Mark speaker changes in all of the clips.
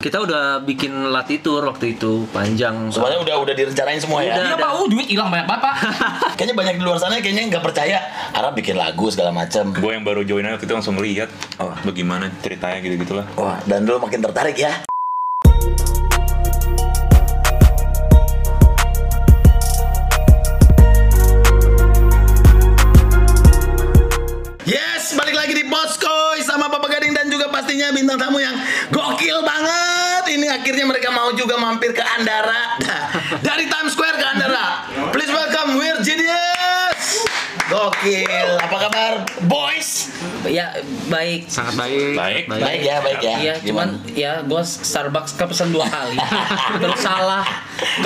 Speaker 1: Kita udah bikin latih tour waktu itu panjang.
Speaker 2: Semuanya udah udah direncanain semua ya.
Speaker 1: Udah.
Speaker 3: Iya pak, uh, duit hilang banyak banget pak.
Speaker 2: Kayaknya banyak di luar sana kayaknya nggak percaya Arab bikin lagu segala macam.
Speaker 4: gue yang baru join aja waktu itu langsung lihat
Speaker 2: Oh.
Speaker 4: bagaimana ceritanya gitu gitulah
Speaker 2: Wah, dan lu makin tertarik ya. Yes, balik lagi di Boskoy sama Papa Gading dan juga pastinya bintang tamu yang gokil banget. Ini akhirnya mereka mau juga mampir ke Andara. Dari Times Square ke Andara. Please welcome Weird Genius. Gokil. Apa kabar, boys?
Speaker 3: ya baik.
Speaker 1: Sangat baik.
Speaker 4: Baik.
Speaker 2: Baik ya, baik ya.
Speaker 3: Iya,
Speaker 2: Gimana?
Speaker 3: cuman ya gue Starbucks kepesan dua kali. Terus salah,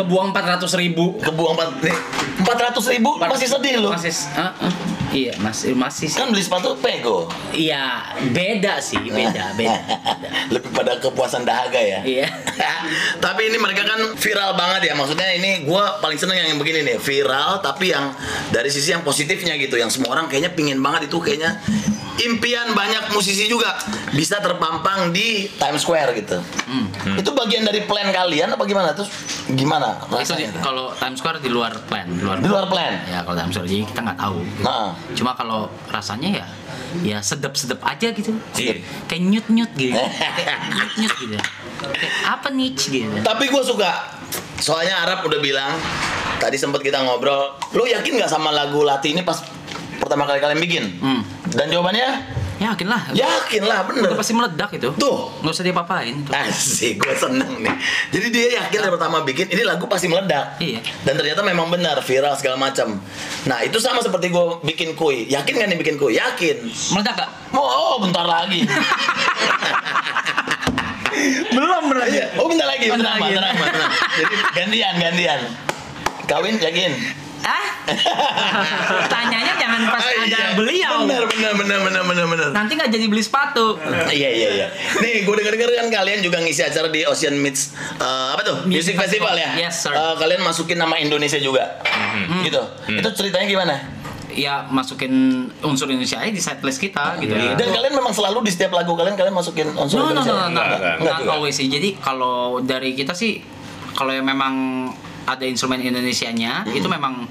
Speaker 3: kebuang 400 ribu.
Speaker 2: kebuang empat eh, empat ratus ribu masih sedih lu
Speaker 3: Masih, ah, ah. iya masih masih.
Speaker 2: kan beli sepatu pego
Speaker 3: Iya beda sih, beda beda. beda.
Speaker 2: lebih pada kepuasan dahaga ya
Speaker 3: Iya.
Speaker 2: tapi ini mereka kan viral banget ya maksudnya ini gua paling seneng yang begini nih viral tapi yang dari sisi yang positifnya gitu yang semua orang kayaknya pingin banget itu kayaknya impian banyak musisi juga bisa terpampang di Times Square gitu
Speaker 3: Hmm.
Speaker 2: itu bagian dari plan kalian apa gimana terus gimana
Speaker 3: Itu di-
Speaker 2: rasanya
Speaker 3: kalau Times Square di luar plan, di luar.
Speaker 2: di luar plan
Speaker 3: Ya kalau Times Square jadi kita nggak tahu.
Speaker 2: nah
Speaker 3: Cuma kalau rasanya ya ya sedep-sedep aja gitu.
Speaker 4: Iya.
Speaker 3: Kayak nyut-nyut gitu.
Speaker 2: Eh.
Speaker 3: Kayak nyut-nyut gitu. Kayak apa nih gitu.
Speaker 2: Tapi gue suka. Soalnya Arab udah bilang tadi sempat kita ngobrol. Lu yakin nggak sama lagu Lati ini pas pertama kali kalian bikin?
Speaker 3: Hmm.
Speaker 2: Dan jawabannya
Speaker 3: Yakin Ya, lah.
Speaker 2: yakin lah bener.
Speaker 3: Udah pasti meledak itu.
Speaker 2: Tuh. Eh.
Speaker 3: Nggak usah diapa-apain. Tuh.
Speaker 2: Asik, gue seneng nih. Jadi dia yakin dari pertama bikin ini lagu pasti meledak.
Speaker 3: Iya.
Speaker 2: Dan ternyata memang benar viral segala macam. Nah itu sama seperti gue bikin kue. Yakin gak nih bikin kue? Yakin.
Speaker 3: Meledak gak?
Speaker 2: Mau oh, bentar lagi.
Speaker 3: Belum berarti.
Speaker 2: Iya. Oh bentar lagi.
Speaker 3: Bentar
Speaker 2: Bentar,
Speaker 3: lagi.
Speaker 2: bentar, bentar, bentar. Jadi gantian, gantian. Kawin yakin.
Speaker 3: Hah? Tanyanya jangan pas
Speaker 2: Ah,
Speaker 3: ada
Speaker 2: iya.
Speaker 3: beliau. Nah.
Speaker 2: Benar benar benar benar benar benar.
Speaker 3: Nanti nggak jadi beli sepatu.
Speaker 2: Iya iya iya. Nih gue denger denger kan kalian juga ngisi acara di Ocean Meets eh, apa tuh Music,
Speaker 3: Music
Speaker 2: Festival,
Speaker 3: Festival.
Speaker 2: ya.
Speaker 3: Yes, sir. Mm-hmm.
Speaker 2: Eh, kalian masukin nama Indonesia juga. Gitu. Itu ceritanya gimana?
Speaker 3: Ya masukin unsur Indonesia aja di setlist kita gitu.
Speaker 4: Iya.
Speaker 2: Dan kalian memang selalu di setiap lagu kalian kalian masukin unsur
Speaker 3: No, no, no,
Speaker 2: Indonesia.
Speaker 3: no, no,
Speaker 4: Enggak, enggak,
Speaker 2: enggak
Speaker 3: Not
Speaker 2: juga.
Speaker 3: always sih. Jadi kalau dari kita sih, kalau yang memang ada instrumen Indonesianya, itu memang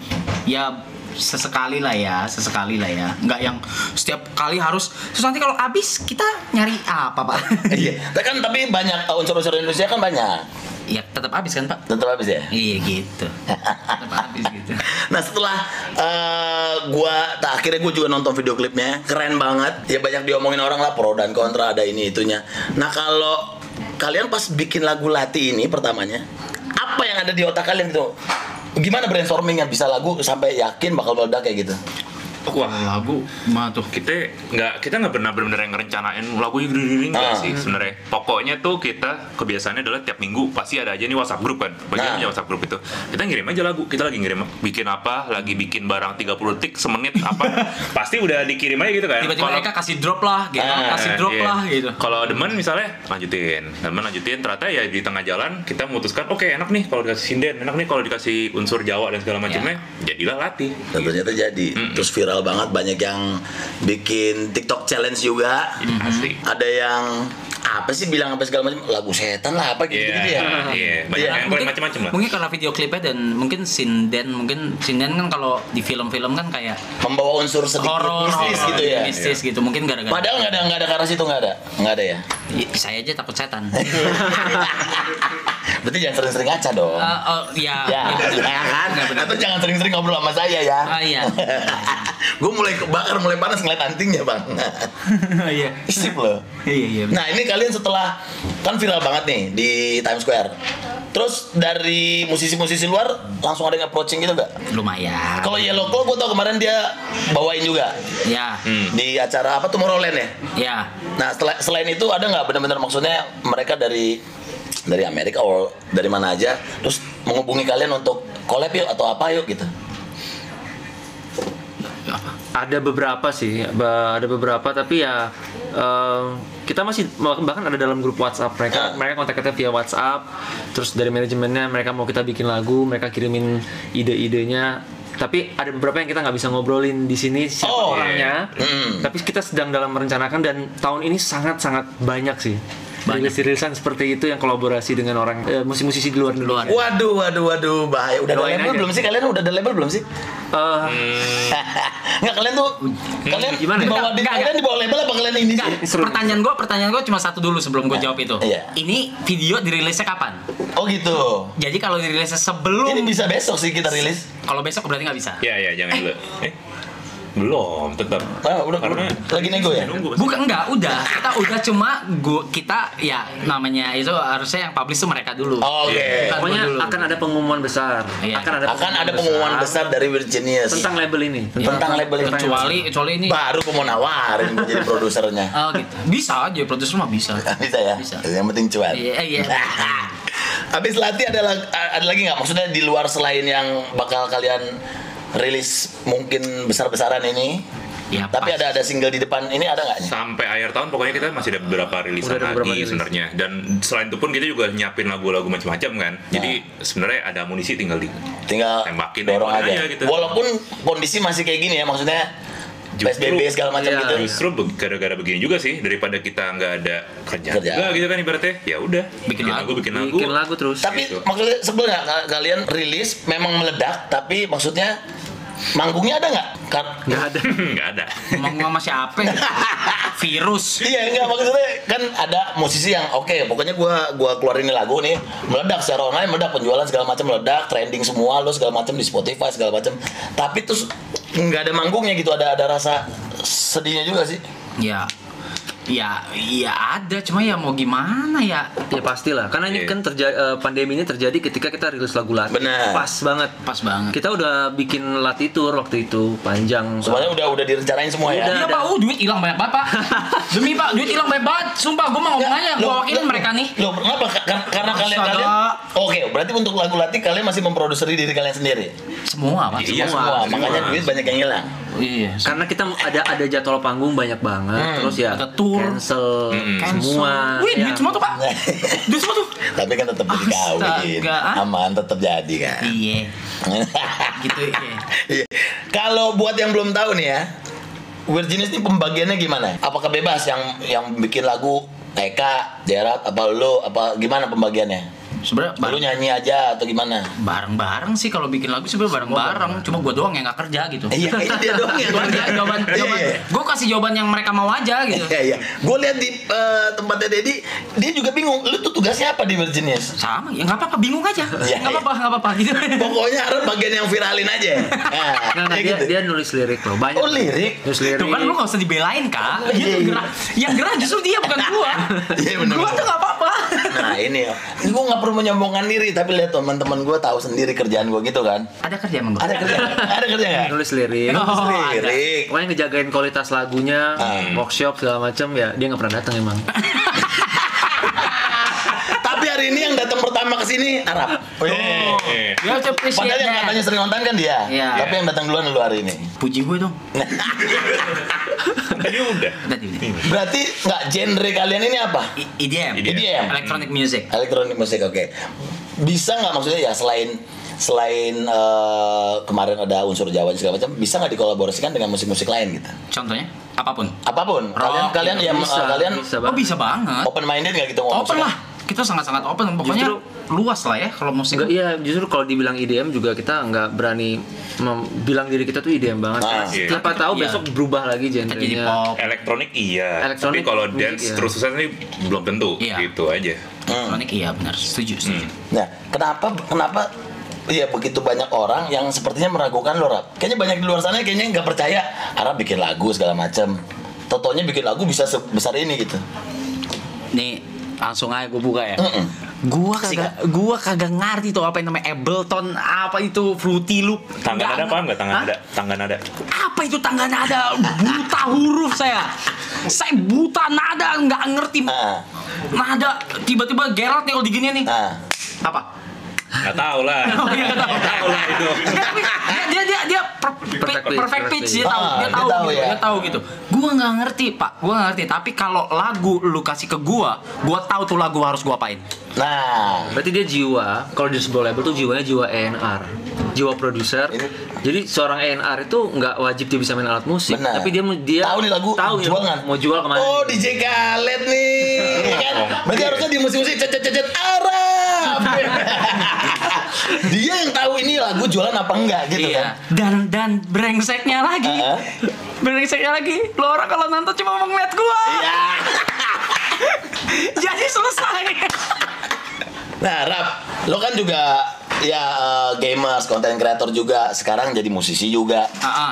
Speaker 3: ya sesekali lah ya, sesekali lah ya. Nggak yang setiap kali harus. Terus nanti kalau habis kita nyari apa pak?
Speaker 2: Iya. Tapi kan tapi banyak eh, unsur-unsur Indonesia kan banyak.
Speaker 3: ya tetap habis kan pak?
Speaker 2: Tetap habis ya.
Speaker 3: Iya gitu. Tetap habis gitu.
Speaker 2: Nah setelah eh, gua tak akhirnya gue juga nonton video klipnya keren banget ya banyak diomongin orang lah pro dan kontra ada ini itunya. Nah kalau kalian pas bikin lagu Lati ini pertamanya apa yang ada di otak kalian itu gimana brainstormingnya bisa lagu sampai yakin bakal meledak kayak gitu?
Speaker 4: wah
Speaker 3: Lagu mah tuh.
Speaker 4: Ah, kita nggak kita nggak pernah benar-benar ngerencanain lagunya gini gini
Speaker 2: Ah.
Speaker 4: nggak sih sebenarnya pokoknya tuh kita kebiasaannya adalah tiap minggu pasti ada aja nih WhatsApp grup kan
Speaker 2: Nah.
Speaker 4: bagian punya WhatsApp grup itu kita ngirim aja lagu kita lagi ngirim bikin apa lagi bikin barang 30 detik semenit apa pasti udah dikirim aja gitu kan
Speaker 3: Tiba-tiba
Speaker 4: Kalau-
Speaker 3: mereka kasih drop lah, gitu.
Speaker 2: Ah,
Speaker 3: kasih drop
Speaker 4: Iya.
Speaker 3: lah gitu.
Speaker 4: Kalau demen misalnya lanjutin, demen lanjutin, ternyata ya di tengah jalan kita memutuskan, oke enak nih kalau dikasih sinden, enak nih kalau dikasih unsur Jawa dan segala macamnya, jadilah latih.
Speaker 2: Dan ternyata jadi terus viral banget banyak yang bikin TikTok challenge juga
Speaker 4: Asli.
Speaker 2: ada yang apa sih bilang apa segala macam lagu setan lah apa gitu gitu
Speaker 4: Iya,
Speaker 2: ya
Speaker 4: iya.
Speaker 2: Iya.
Speaker 4: Banyak yang
Speaker 3: Nah, Mungkin-
Speaker 4: macam-macam lah.
Speaker 3: Mungkin karena video klipnya dan mungkin sinden, mungkin sinden kan kalau di film-film kan kayak
Speaker 2: membawa unsur sedikit
Speaker 3: horor,
Speaker 2: mistis
Speaker 3: horor,
Speaker 2: gitu ya
Speaker 3: mistis gitu. Mungkin gara-gara
Speaker 2: Padahal nggak ada nggak ada ke arah situ nggak ada nggak ada ya.
Speaker 3: Ya, saya aja takut setan.
Speaker 2: Berarti jangan sering-sering ngaca dong.
Speaker 3: Eh, oh, ya.
Speaker 2: ya,
Speaker 3: ya, benar.
Speaker 2: ya kan?
Speaker 3: Benar, benar.
Speaker 2: Atau jangan sering-sering ngobrol sama saya ya.
Speaker 3: Ah, iya.
Speaker 2: Gue mulai kebakar, mulai panas ngeliat antingnya bang.
Speaker 3: Iya.
Speaker 2: Sip loh.
Speaker 3: Iya, iya. benar.
Speaker 2: Nah ini kalian setelah kan viral banget nih di Times Square. Terus dari musisi-musisi luar langsung ada yang approaching gitu nggak?
Speaker 3: Lumayan.
Speaker 2: Kalau Yellow Claw gue tau kemarin dia bawain juga
Speaker 3: Ya,
Speaker 4: Hmm.
Speaker 2: di acara apa Tomorrowland ya.
Speaker 3: ya.
Speaker 2: Nah setel- selain itu ada nggak benar-benar maksudnya mereka dari dari Amerika or dari mana aja terus menghubungi kalian untuk collab yuk atau apa yuk gitu.
Speaker 1: Ada beberapa sih, ba- ada beberapa tapi ya eh, kita masih bahkan ada dalam grup WhatsApp mereka.
Speaker 2: Ah.
Speaker 1: Mereka kontak kita via WhatsApp. Terus dari manajemennya mereka mau kita bikin lagu, mereka kirimin ide-idenya. Tapi ada beberapa yang kita nggak bisa ngobrolin di sini siapa
Speaker 2: Oh,
Speaker 1: orangnya.
Speaker 2: Mm.
Speaker 1: Tapi kita sedang dalam merencanakan dan tahun ini sangat-sangat banyak sih. rilis rilisan seperti itu yang kolaborasi dengan orang eh, musisi-musisi di luar di luar.
Speaker 2: Waduh, waduh, waduh, bahaya. Udah ada
Speaker 1: Doain
Speaker 2: label
Speaker 1: aja.
Speaker 2: belum sih kalian? Udah ada label belum sih?
Speaker 1: Eh,
Speaker 2: Nggak kalian tuh kalian
Speaker 1: gimana?
Speaker 2: di bawah
Speaker 3: Nggak,
Speaker 2: di,
Speaker 3: nggak,
Speaker 2: kalian di bawah label apa kalian ini sih?
Speaker 1: Seru.
Speaker 3: Pertanyaan gue, pertanyaan gue cuma satu dulu sebelum gue jawab itu.
Speaker 2: Iya.
Speaker 3: Ini video dirilisnya kapan?
Speaker 2: Oh gitu.
Speaker 3: Jadi kalau dirilisnya
Speaker 2: Jadi
Speaker 3: sebelum,
Speaker 2: bisa besok sih kita rilis.
Speaker 3: kalau besok berarti nggak bisa.
Speaker 4: Ya ya jangan dulu. Eh, belum tetap.
Speaker 2: Ah, udah,
Speaker 4: Karena-
Speaker 2: lagi nego ya?
Speaker 4: Nunggu.
Speaker 3: Bukan enggak, udah. Kita udah cuma gua kita ya namanya itu harusnya yang publish tuh mereka dulu.
Speaker 2: Oke.
Speaker 4: Iya.
Speaker 1: pokoknya
Speaker 3: Dulu.
Speaker 1: akan ada pengumuman besar.
Speaker 3: Iya.
Speaker 1: Akan ada
Speaker 2: gitu. Akan ada pengumuman besar dari Virginia
Speaker 1: tentang label ini.
Speaker 3: Iya.
Speaker 2: tentang label ini.
Speaker 3: Ya. Kecuali kecuali ini
Speaker 2: Baru aku mau nawarin jadi produsernya.
Speaker 3: Oh gitu. Bisa aja produser mah bisa.
Speaker 2: Bisa ya?
Speaker 3: Bisa.
Speaker 2: Yang penting cuan.
Speaker 3: Iya, iya.
Speaker 2: Habis latih ada lag- ada lagi nggak? Maksudnya di luar selain yang bakal kalian rilis mungkin besar-besaran ini.
Speaker 3: Ya,
Speaker 2: Tapi
Speaker 3: pas.
Speaker 2: ada ada single di depan ini ada nggak? Nih?
Speaker 4: Sampai akhir tahun pokoknya kita masih ada beberapa rilisan
Speaker 1: Udah ada beberapa
Speaker 4: lagi
Speaker 1: rilis.
Speaker 4: sebenarnya. Dan selain itu pun kita juga nyiapin lagu-lagu macam-macam kan. Jadi sebenarnya ada amunisi tinggal di
Speaker 2: Tinggal
Speaker 4: Tembakin
Speaker 2: dorong
Speaker 4: aja
Speaker 2: aja.
Speaker 4: gitu.
Speaker 2: Walaupun kondisi masih kayak gini ya, maksudnya
Speaker 4: Justru-
Speaker 2: PSBB segala macam
Speaker 1: iya,
Speaker 2: gitu.
Speaker 4: Justru be- gara-gara begini juga sih daripada kita nggak ada kerjaan
Speaker 2: Kerjaan.
Speaker 4: juga gitu kan ibaratnya. Ya udah
Speaker 3: Bikin lagu.
Speaker 4: bikin lagu.
Speaker 1: Bikin lagu terus.
Speaker 2: Tapi
Speaker 4: Gitu.
Speaker 2: maksudnya sebelum nggak ka- kalian rilis memang meledak, tapi maksudnya manggungnya ada nggak? Kar-
Speaker 1: nggak ada.
Speaker 4: Nggak ada.
Speaker 3: Ngomong sama siapa? Virus.
Speaker 2: Iya enggak maksudnya kan ada musisi yang oke pokoknya gua gua keluarin ini lagu nih meledak secara online meledak penjualan segala macam meledak trending semua lo segala macam di Spotify segala macam tapi terus nggak ada manggungnya gitu ada ada rasa sedihnya juga sih
Speaker 3: Ya. Ya, iya ada, cuma ya mau gimana ya?
Speaker 1: Ya pastilah, karena ini
Speaker 4: Iya.
Speaker 1: kan terjadi eh, pandemi ini terjadi ketika kita rilis lagu latih.
Speaker 2: Benar.
Speaker 1: Pas banget.
Speaker 3: Pas banget.
Speaker 1: Kita udah bikin latih tour waktu itu panjang.
Speaker 2: semuanya udah udah direncanain semua ya
Speaker 1: Udah.
Speaker 3: Iya pak, uh, duit hilang banyak banget pak. Demi pak, duit hilang banyak banget. Sumpah, gue mau ngomong aja, gue
Speaker 2: Lo-
Speaker 3: wakilin
Speaker 2: lo-
Speaker 3: mereka nih.
Speaker 2: Lo kenapa? Ka- ka- Karena kalian
Speaker 3: Astaga.
Speaker 2: kalian. Oke, berarti untuk lagu latih kalian masih memproduksi diri kalian sendiri.
Speaker 3: Semua pak.
Speaker 4: Iya,
Speaker 2: Wah,
Speaker 4: semua.
Speaker 2: makanya duit banyak yang hilang.
Speaker 3: Iya.
Speaker 1: Karena kita ada ada jadwal panggung banyak banget,
Speaker 2: Hmm.
Speaker 1: terus ya
Speaker 3: ada tour.
Speaker 1: cancel semua.
Speaker 3: Wih,
Speaker 1: ya.
Speaker 3: duit semua tuh pak. Duit semua tuh.
Speaker 2: Tapi kan tetap jadi kawin.
Speaker 3: Astaga.
Speaker 2: Aman tetap jadi kan.
Speaker 3: Iya. Gitu ya.
Speaker 2: Iya. Kalau buat yang belum tahu nih ya, Virginis ini pembagiannya gimana? Apakah bebas yang yang bikin lagu Eka, Jerat, apa lo, apa gimana pembagiannya?
Speaker 3: Sebenernya
Speaker 2: Lu nyanyi aja atau gimana?
Speaker 3: bareng-bareng sih kalau bikin lagu sebenarnya bareng-bareng cuma gue doang yang nggak kerja gitu
Speaker 2: Iya, kayaknya dia doang yang
Speaker 3: Gua kasih jawaban,
Speaker 2: Iya, iya.
Speaker 3: gue kasih jawaban yang mereka mau aja gitu
Speaker 2: Iya iya. Gue lihat di eh, tempatnya Dedi, dia juga bingung. Lu tuh tugasnya apa di Virginius?
Speaker 3: sama ya nggak apa-apa bingung aja
Speaker 2: Iya, iya.
Speaker 3: nggak apa-apa nggak apa-apa gitu
Speaker 2: Pokoknya harus bagian yang viralin aja. Nah,
Speaker 1: Nah, nah,
Speaker 2: kayak
Speaker 1: dia,
Speaker 2: gitu.
Speaker 1: dia nulis lirik loh, banyak.
Speaker 2: Oh, lirik?
Speaker 1: Nulis lirik.
Speaker 3: Tuh kan lu gak usah dibelain kak
Speaker 2: Iya,
Speaker 3: Dia tuh
Speaker 2: iya.
Speaker 3: gerah Yang gerah justru dia bukan gua
Speaker 2: Iya, bener,
Speaker 3: Gua
Speaker 2: bener.
Speaker 3: tuh gak apa-apa
Speaker 2: Nah ini, gue nggak perlu menyombongkan diri, tapi lihat teman-teman gue tahu sendiri kerjaan gue gitu kan.
Speaker 3: Ada kerja emang gua?
Speaker 2: Ada kerja, ada kerja nggak?
Speaker 1: nulis lirik.
Speaker 3: Oh, ada.
Speaker 2: Lirik.
Speaker 1: Pokoknya ngejagain kualitas lagunya,
Speaker 2: Hmm.
Speaker 1: workshop segala macam ya dia nggak pernah datang emang.
Speaker 2: Tapi hari ini yang datang pertama ke sini Arab. iya. Oh.
Speaker 4: Eh, eh.
Speaker 3: You have to appreciate
Speaker 2: Padahal yang
Speaker 3: that.
Speaker 2: katanya sering nonton kan dia.
Speaker 3: Oh, Iya.
Speaker 2: Tapi yang datang duluan lu hari ini.
Speaker 3: Puji gue dong
Speaker 4: Tadi ya udah.
Speaker 3: Tadi
Speaker 2: Berarti nggak genre kalian ini apa?
Speaker 3: I- EDM
Speaker 4: EDM.
Speaker 2: EDM.
Speaker 3: Electronic music
Speaker 2: Elektronik musik oke. Bisa nggak maksudnya ya selain selain eh, kemarin ada unsur Jawa segala macam, bisa nggak dikolaborasikan dengan musik-musik lain gitu?
Speaker 3: Contohnya Apapun
Speaker 2: Apapun. Kalian
Speaker 3: Rock,
Speaker 2: kalian
Speaker 3: gitu.
Speaker 2: yang
Speaker 1: Bisa,
Speaker 2: eh, kalian
Speaker 1: bisa
Speaker 3: Oh
Speaker 1: banget.
Speaker 3: bisa banget
Speaker 2: open minded nggak gitu ngomong?
Speaker 3: Open lah Kita sangat-sangat open Pokoknya
Speaker 1: Justru-
Speaker 3: luas lah ya Kalau musik
Speaker 1: Enggak, iya justru kalau dibilang IDM juga kita nggak berani mem- bilang diri kita tuh IDM banget.
Speaker 2: Ah,
Speaker 4: iya.
Speaker 1: Siapa tahu
Speaker 3: Iya.
Speaker 1: besok berubah lagi
Speaker 3: Kita jadi
Speaker 1: genrenya.
Speaker 3: pop
Speaker 4: Elektronik iya,
Speaker 1: Elektronik,
Speaker 4: tapi kalau
Speaker 1: musik,
Speaker 4: dance
Speaker 1: iya.
Speaker 4: terus-terusan ini belum tentu
Speaker 3: Iya.
Speaker 4: gitu aja.
Speaker 2: Hmm.
Speaker 3: Elektronik iya benar Setuju setuju
Speaker 2: Nah, kenapa kenapa Iya begitu banyak orang yang sepertinya meragukan lo Rap. Kayaknya banyak di luar sana yang kayaknya nggak percaya Arab bikin lagu segala macam. Totonya bikin lagu bisa sebesar ini gitu.
Speaker 3: Nih langsung aja gue buka ya
Speaker 2: Mm-mm.
Speaker 3: Gua
Speaker 2: Sikat.
Speaker 3: kagak gua kagak ngerti tuh apa yang namanya Ableton apa itu Fruity Loop
Speaker 4: Tangan
Speaker 3: Nggak-
Speaker 4: ada paham nggak tangan
Speaker 3: Hah?
Speaker 4: ada? Tangan ada.
Speaker 3: apa itu tangga nada buta huruf saya saya buta nada nggak ngerti
Speaker 2: Ah.
Speaker 3: nada tiba-tiba Gerald nih kalau digini nih
Speaker 2: Nah,
Speaker 3: apa
Speaker 4: Nggak tahu lah.
Speaker 3: Oh, iya, nggak tahu.
Speaker 4: Nggak tahu lah itu.
Speaker 3: dia dia dia, dia per-
Speaker 1: Perfect
Speaker 3: pe-
Speaker 1: pitch,
Speaker 3: perfect, pitch
Speaker 1: perfect
Speaker 2: pitch.
Speaker 3: dia tahu dia
Speaker 2: Ah,
Speaker 3: tahu
Speaker 2: dia tahu
Speaker 3: gitu,
Speaker 2: ya.
Speaker 3: dia tahu gitu gua nggak ngerti pak gua nggak ngerti tapi kalau lagu lu kasih ke gua gua tahu tuh lagu harus gua apain
Speaker 2: nah,
Speaker 1: Berarti dia jiwa, kalau di sebuah label tuh jiwanya jiwa ENR. jiwa produser. Jadi seorang ENR itu nggak wajib dia bisa main alat musik,
Speaker 2: Benar.
Speaker 1: tapi dia dia
Speaker 2: tahu nih lagu
Speaker 1: tahu ya,
Speaker 2: jual nggak?
Speaker 1: mau jual kemana. gitu.
Speaker 2: Oh DJ Khaled nih, ya kan? Berarti harusnya di musik-musik cet cet cet cet, Arab. Dia yang tahu ini lagu jualan apa enggak gitu
Speaker 3: Iya.
Speaker 2: kan? Ah,
Speaker 3: Dan dan brengseknya lagi.
Speaker 2: Heeh.
Speaker 3: Brengseknya lagi. Lo orang kalau nonton cuma mau ngeliat gua.
Speaker 2: Iya.
Speaker 3: Jadi selesai.
Speaker 2: Nah Rap, lo kan juga ya eh, gamers, konten creator juga. Sekarang jadi musisi juga.
Speaker 3: Heeh.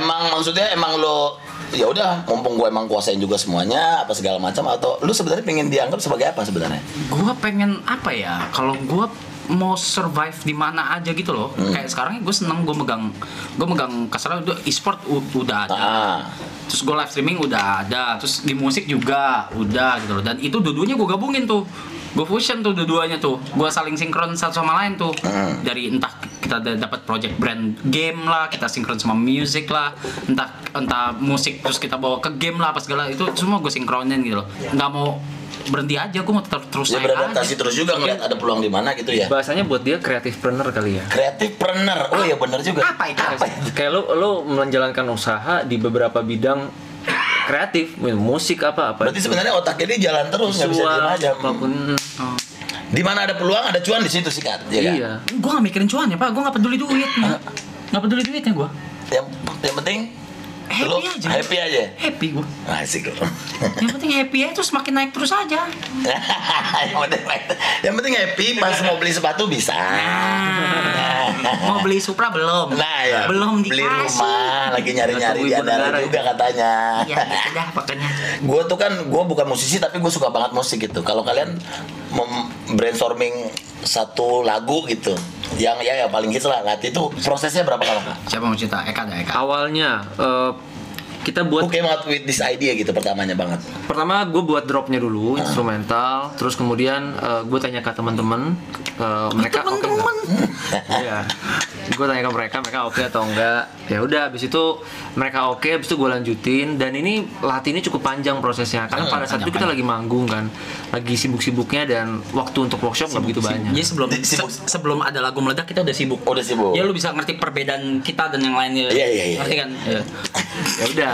Speaker 2: Emang maksudnya emang lo ya udah mumpung gue emang kuasain juga semuanya apa segala macam atau lu sebenarnya pengen dianggap sebagai apa sebenarnya
Speaker 3: gua pengen apa ya? Kalau gua mau survive di mana aja gitu loh.
Speaker 2: Hmm.
Speaker 3: Kayak sekarang gue seneng gue megang gue megang kasarnya udah e-sport u- udah ada.
Speaker 2: ah
Speaker 3: Terus gue live streaming udah ada, terus di musik juga udah gitu loh. Dan itu dua-duanya gue gabungin tuh. Gue fusion tuh dua-duanya tuh. Gue saling sinkron satu sama lain tuh.
Speaker 2: Hmm.
Speaker 3: Dari entah kita da- dapat project brand game lah, kita sinkron sama music lah, entah entah musik terus kita bawa ke game lah apa segala itu semua gue sinkronin gitu loh. Nggak mau berhenti aja, gue mau tetap terus
Speaker 2: ya
Speaker 3: naik
Speaker 2: beradaptasi
Speaker 3: aja.
Speaker 2: terus juga ngeliat ada peluang di mana gitu ya
Speaker 1: Bahasanya buat dia kreatif planner kali ya.
Speaker 2: kreatif planner oh ya bener juga
Speaker 3: Apa itu?
Speaker 1: Kayak lu lu menjalankan usaha di beberapa bidang kreatif, musik apa apa.
Speaker 2: Berarti sebenarnya otak ini jalan terus nggak bisa
Speaker 1: visual,
Speaker 2: diam aja.
Speaker 1: apapun.
Speaker 3: Oh.
Speaker 2: Di mana ada peluang ada cuan di situ sikat, ya kan?
Speaker 1: Iya.
Speaker 3: Gue gak mikirin cuan ya pak, gue gak peduli duit. Gak peduli duitnya gue.
Speaker 2: Yang yang penting
Speaker 3: Happy
Speaker 2: lu
Speaker 3: aja.
Speaker 2: happy aja.
Speaker 3: Happy gue.
Speaker 2: Asik lu.
Speaker 3: Yang penting happy aja terus makin naik terus aja.
Speaker 2: yang penting yang penting happy pas mau beli sepatu bisa.
Speaker 1: Nah.
Speaker 3: mau beli Supra belum?
Speaker 2: Nah, ya.
Speaker 3: Belum
Speaker 2: beli
Speaker 3: dikasih.
Speaker 2: rumah, lagi nyari-nyari
Speaker 1: Atau
Speaker 2: di
Speaker 1: ibu
Speaker 2: Andara
Speaker 1: negara ya.
Speaker 2: juga katanya.
Speaker 3: Ya, udah pokoknya.
Speaker 2: gue tuh kan gue bukan musisi tapi gue suka banget musik gitu kalau kalian mem- brainstorming satu lagu gitu yang ya yang paling hits lah nanti itu prosesnya berapa lama
Speaker 3: Siapa mau cerita? Eka ada Eka.
Speaker 1: Awalnya eh, kita buat
Speaker 2: Oke banget with this idea gitu pertamanya banget
Speaker 1: pertama gue buat dropnya dulu instrumental terus kemudian gue tanya ke teman-teman eh, mereka oke nggak? Iya. gue tanya ke mereka mereka oke atau enggak ya udah habis itu mereka oke habis itu gue lanjutin dan ini latihannya cukup panjang prosesnya karena pada saat itu kita lagi manggung kan lagi sibuk-sibuknya dan waktu untuk workshop nggak begitu banyak
Speaker 3: Jadi sebelum
Speaker 2: Di- sibuk.
Speaker 3: se- sebelum ada lagu meledak kita udah sibuk.
Speaker 2: udah sibuk
Speaker 3: Ya lu bisa ngerti perbedaan kita dan yang lainnya.
Speaker 2: Iya, iya, iya.
Speaker 3: Ngerti kan? Iya.
Speaker 1: ya udah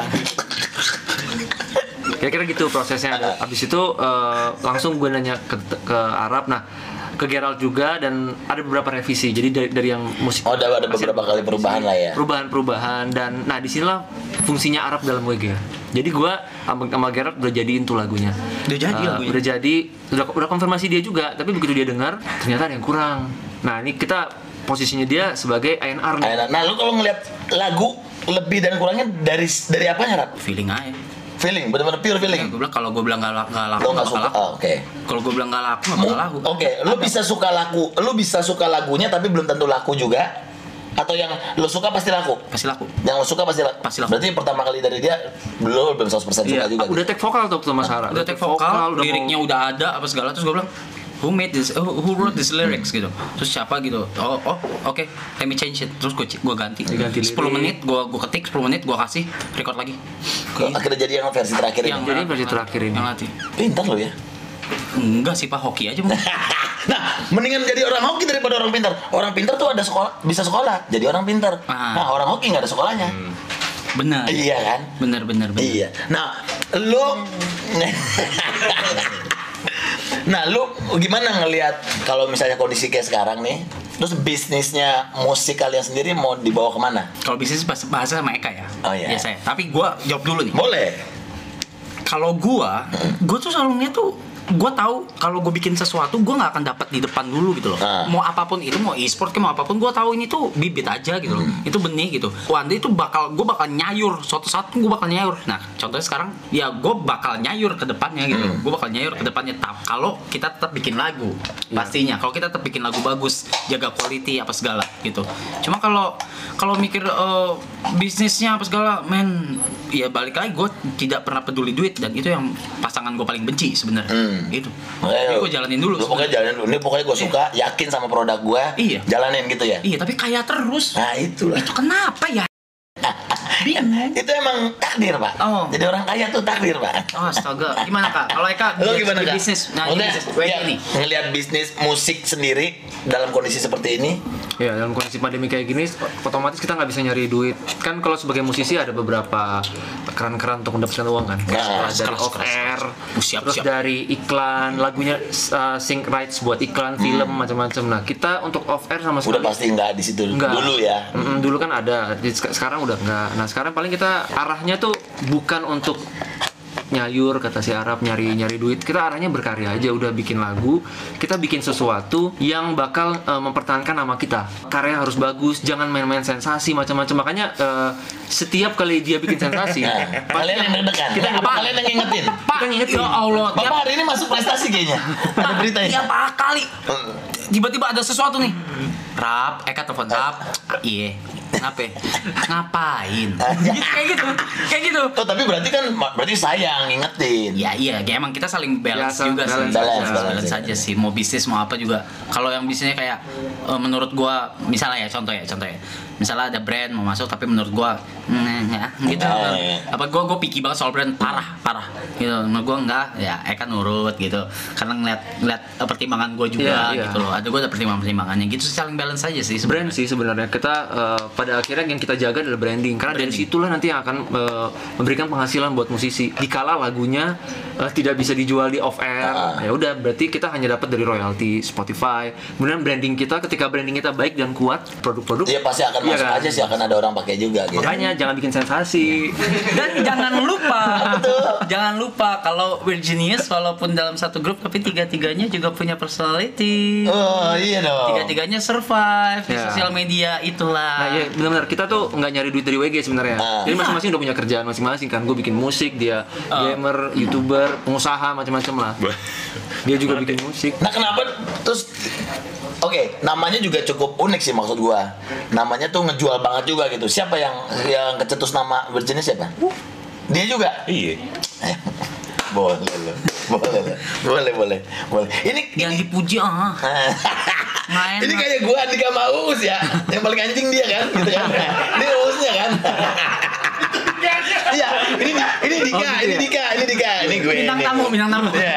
Speaker 1: kira-kira gitu prosesnya ada abis itu eh, langsung gue nanya ke, ke Arab nah ke Gerald juga dan ada beberapa revisi jadi dari, dari yang musik
Speaker 2: oh ada ada beberapa kali perubahan lah ya
Speaker 1: perubahan-perubahan dan nah disinilah fungsinya Arab dalam WG jadi gue sama, sama Gerald udah jadiin tuh lagunya
Speaker 3: Udah jadi
Speaker 1: Eh,
Speaker 3: lagunya?
Speaker 1: udah jadi udah udah konfirmasi dia juga tapi begitu dia dengar ternyata ada yang kurang nah ini kita posisinya dia sebagai INR nih.
Speaker 2: nah lu kalau ngeliat lagu lebih dan kurangnya dari dari apa harap
Speaker 3: Feeling aja.
Speaker 2: feeling benar-benar pure
Speaker 3: Ya,
Speaker 2: feeling
Speaker 3: gue bilang kalau gue bilang gak, la- gak laku
Speaker 2: lo nggak
Speaker 3: gak bakal
Speaker 2: suka
Speaker 3: laku.
Speaker 2: oh, oke
Speaker 3: Kalau gue bilang gak laku gak bakal laku.
Speaker 2: Oke, lu bisa suka lagu, lu bisa suka lagunya tapi belum tentu laku juga, atau yang lu suka pasti laku.
Speaker 3: Pasti laku.
Speaker 2: Yang lu suka pasti laku.
Speaker 3: Pasti laku.
Speaker 2: Berarti pertama kali dari dia belum belum 100% suka
Speaker 1: Iya,
Speaker 2: juga.
Speaker 1: ah, udah tag vokal tuh sama Sarah.
Speaker 3: udah take vokal, liriknya udah ada apa segala terus gue bilang who made this who, who wrote this lyrics gitu terus siapa gitu oh oh oke let me change it terus gue gue ganti,
Speaker 1: Diganti
Speaker 3: 10
Speaker 1: lirik.
Speaker 3: menit gue gue ketik 10 menit gue kasih record lagi
Speaker 2: Kok akhirnya jadi yang versi terakhir
Speaker 3: yang
Speaker 2: ini.
Speaker 1: Jadi versi terakhir ini.
Speaker 3: yang latih
Speaker 2: Pintar lu ya.
Speaker 3: enggak sih pak hoki aja mungkin
Speaker 2: nah, mendingan jadi orang hoki daripada orang pintar. Orang pintar tuh ada sekolah, bisa sekolah, jadi orang pintar.
Speaker 3: Ah. Hmm.
Speaker 2: Nah, orang hoki nggak ada sekolahnya.
Speaker 3: benar
Speaker 2: Iya kan?
Speaker 3: benar benar benar
Speaker 2: Iya. Nah, lu Nah, lu gimana ngelihat kalau misalnya kondisi kayak sekarang nih? Terus bisnisnya musik kalian sendiri mau dibawa kemana?
Speaker 3: kalau bisnis bahas- bahasa sama Eka ya
Speaker 2: Oh, iya.
Speaker 3: biasanya tapi gue jawab dulu nih
Speaker 2: Boleh.
Speaker 3: kalau gua, gua tuh selalunya tuh gua tahu kalau gua bikin sesuatu gua nggak akan dapat di depan dulu gitu loh.
Speaker 2: Ah.
Speaker 3: Mau apapun itu, mau e-sport ke mau apapun, gua tahu ini tuh bibit aja gitu loh.
Speaker 2: Hmm.
Speaker 3: Itu benih gitu. One day itu bakal gua bakal nyayur suatu saat gua bakal nyayur. Nah, contohnya sekarang ya gua bakal nyayur ke depannya gitu.
Speaker 2: Hmm.
Speaker 3: loh. Gua bakal nyayur ke depannya Tap- kalau kita tetap bikin lagu.
Speaker 2: Iya.
Speaker 3: Pastinya kalau kita tetap bikin lagu bagus, jaga quality apa segala gitu. Cuma kalau kalau mikir eh, bisnisnya apa segala, men ya balik lagi gue tidak pernah peduli duit dan itu yang pasangan gue paling benci sebenarnya
Speaker 2: Hmm.
Speaker 3: itu
Speaker 2: Makanya
Speaker 3: jadi
Speaker 2: lu-
Speaker 3: gue jalanin dulu
Speaker 2: Lu pokoknya
Speaker 3: sebenarnya.
Speaker 2: jalanin dulu. Ini pokoknya gue suka, yakin sama produk gue.
Speaker 3: Iya.
Speaker 2: Jalanin gitu ya.
Speaker 3: iya tapi kaya terus
Speaker 2: Nah, itulah.
Speaker 3: itu kenapa ya
Speaker 2: itu emang takdir pak
Speaker 3: Oh.
Speaker 2: jadi orang kaya tuh takdir pak
Speaker 3: Oh, astaga. Gimana kak? Kalau Eka
Speaker 2: lo
Speaker 3: di-
Speaker 2: gimana
Speaker 3: di
Speaker 2: kak?
Speaker 3: bisnis, nah di
Speaker 2: Maksudnya,
Speaker 3: bisnis, wedding
Speaker 2: ya,
Speaker 3: nih.
Speaker 2: ngelihat bisnis musik sendiri dalam kondisi seperti ini
Speaker 1: Ya dalam kondisi pandemi kayak gini, otomatis kita nggak bisa nyari duit. Kan kalau sebagai musisi ada beberapa keran-keran untuk mendapatkan uang kan.
Speaker 2: Keras,
Speaker 1: dari
Speaker 3: keras,
Speaker 1: off
Speaker 3: keras,
Speaker 1: air,
Speaker 3: keras. Oh, Siap,
Speaker 1: terus
Speaker 3: siap.
Speaker 1: dari iklan, lagunya uh, sync rights buat iklan, film
Speaker 3: Hmm.
Speaker 1: macam-macam. Nah kita untuk off air sama
Speaker 2: udah
Speaker 1: sekali
Speaker 2: pasti nggak di situ
Speaker 1: Nggak.
Speaker 2: dulu ya
Speaker 1: Mm-mm, dulu kan ada, jadi sek- sekarang udah nggak. Nah sekarang paling kita arahnya tuh bukan untuk nyayur kata si Arab nyari nyari duit. Kita arahnya berkarya aja, udah bikin lagu, kita bikin sesuatu yang bakal eh, mempertahankan nama kita. Karya harus bagus, jangan main-main sensasi macam-macam. Makanya eh, setiap kali dia bikin sensasi,
Speaker 2: nah,
Speaker 1: pasti
Speaker 2: kalian yang deg-degan
Speaker 1: Iya. Kita
Speaker 2: Apa
Speaker 1: apa?
Speaker 2: kalian yang ngingetin
Speaker 1: Pak,
Speaker 3: ya Allah, tiap,
Speaker 2: Bapak hari ini masuk prestasi kayaknya ada ya?
Speaker 1: ya?
Speaker 2: beritanya
Speaker 3: tiap kali tiba-tiba ada sesuatu nih. Rap, Eka telepon Rap. Iya. Kenapa? Ngapain? Gitu, kayak gitu. Kayak gitu.
Speaker 2: Oh, tapi berarti kan berarti sayang ngingetin.
Speaker 3: Ya iya, kayak emang kita saling balance
Speaker 1: Ya,
Speaker 3: juga
Speaker 1: balance,
Speaker 3: sih.
Speaker 2: balance, balance.
Speaker 3: saja sih. Mau bisnis mau apa juga. Kalau yang bisnisnya kayak eh, menurut gua misalnya ya contoh ya, contoh ya. Misalnya ada brand mau masuk tapi menurut gua mm, ya gitu.
Speaker 2: Oh, iya.
Speaker 3: Apa gua gua picky banget soal brand parah, parah. Gitu. Menurut gua enggak, ya Eka nurut gitu. Karena ngeliat ngeliat eh, pertimbangan gua juga
Speaker 1: Iya, iya.
Speaker 3: gitu loh. Ada gua ada pertimbangan-pertimbangannya gitu sih saling balance aja sih
Speaker 1: brand
Speaker 3: sebenarnya.
Speaker 1: sih sebenarnya kita eh, pada akhirnya yang kita jaga adalah branding karena dari situlah nanti yang akan eh, memberikan penghasilan buat musisi dikala lagunya eh, tidak bisa dijual di off air
Speaker 2: Ah.
Speaker 1: ya udah berarti kita hanya dapat dari royalti Spotify kemudian branding kita ketika branding kita baik dan kuat produk-produk
Speaker 2: Iya pasti akan
Speaker 1: Iya
Speaker 2: masuk
Speaker 1: kan?
Speaker 2: aja sih akan ada orang pakai juga gitu.
Speaker 1: makanya jangan bikin sensasi
Speaker 2: Iya.
Speaker 3: Dan jangan lupa, jangan lupa kalau we're genius walaupun dalam satu grup tapi tiga-tiganya juga punya personality.
Speaker 2: Oh iya dong.
Speaker 3: Tiga-tiganya survive di
Speaker 1: Ya.
Speaker 3: sosial media itulah.
Speaker 1: Nah, ya benar-benar kita tuh nggak nyari duit dari WG sebenarnya.
Speaker 2: Ah.
Speaker 1: Jadi masing-masing udah punya kerjaan masing-masing kan. Gue bikin musik, dia
Speaker 2: Ah.
Speaker 1: gamer, youtuber, pengusaha macam-macam lah. Dia juga bikin musik.
Speaker 2: Nah kenapa terus Oke, namanya juga cukup unik sih maksud gua. Namanya tuh ngejual banget juga gitu. Siapa yang yang kecetus nama Virginia siapa? Dia juga.
Speaker 4: Iya.
Speaker 2: Boleh lo. Boleh lo. Boleh boleh. Boleh. Ini
Speaker 3: Jangan dipuji ah. Nggak enak.
Speaker 2: ini kayak gua Andika Maus ya. Yang paling anjing dia kan, gitu kan. Ini Mausnya kan. Iya, ini ini Dika,
Speaker 1: Oh, gitu
Speaker 2: ini
Speaker 1: ya?
Speaker 2: Dika, ini Dika, ini gue.
Speaker 3: Bintang
Speaker 2: ini
Speaker 3: tamu,
Speaker 2: gue.
Speaker 3: bintang tamu.
Speaker 2: Iya.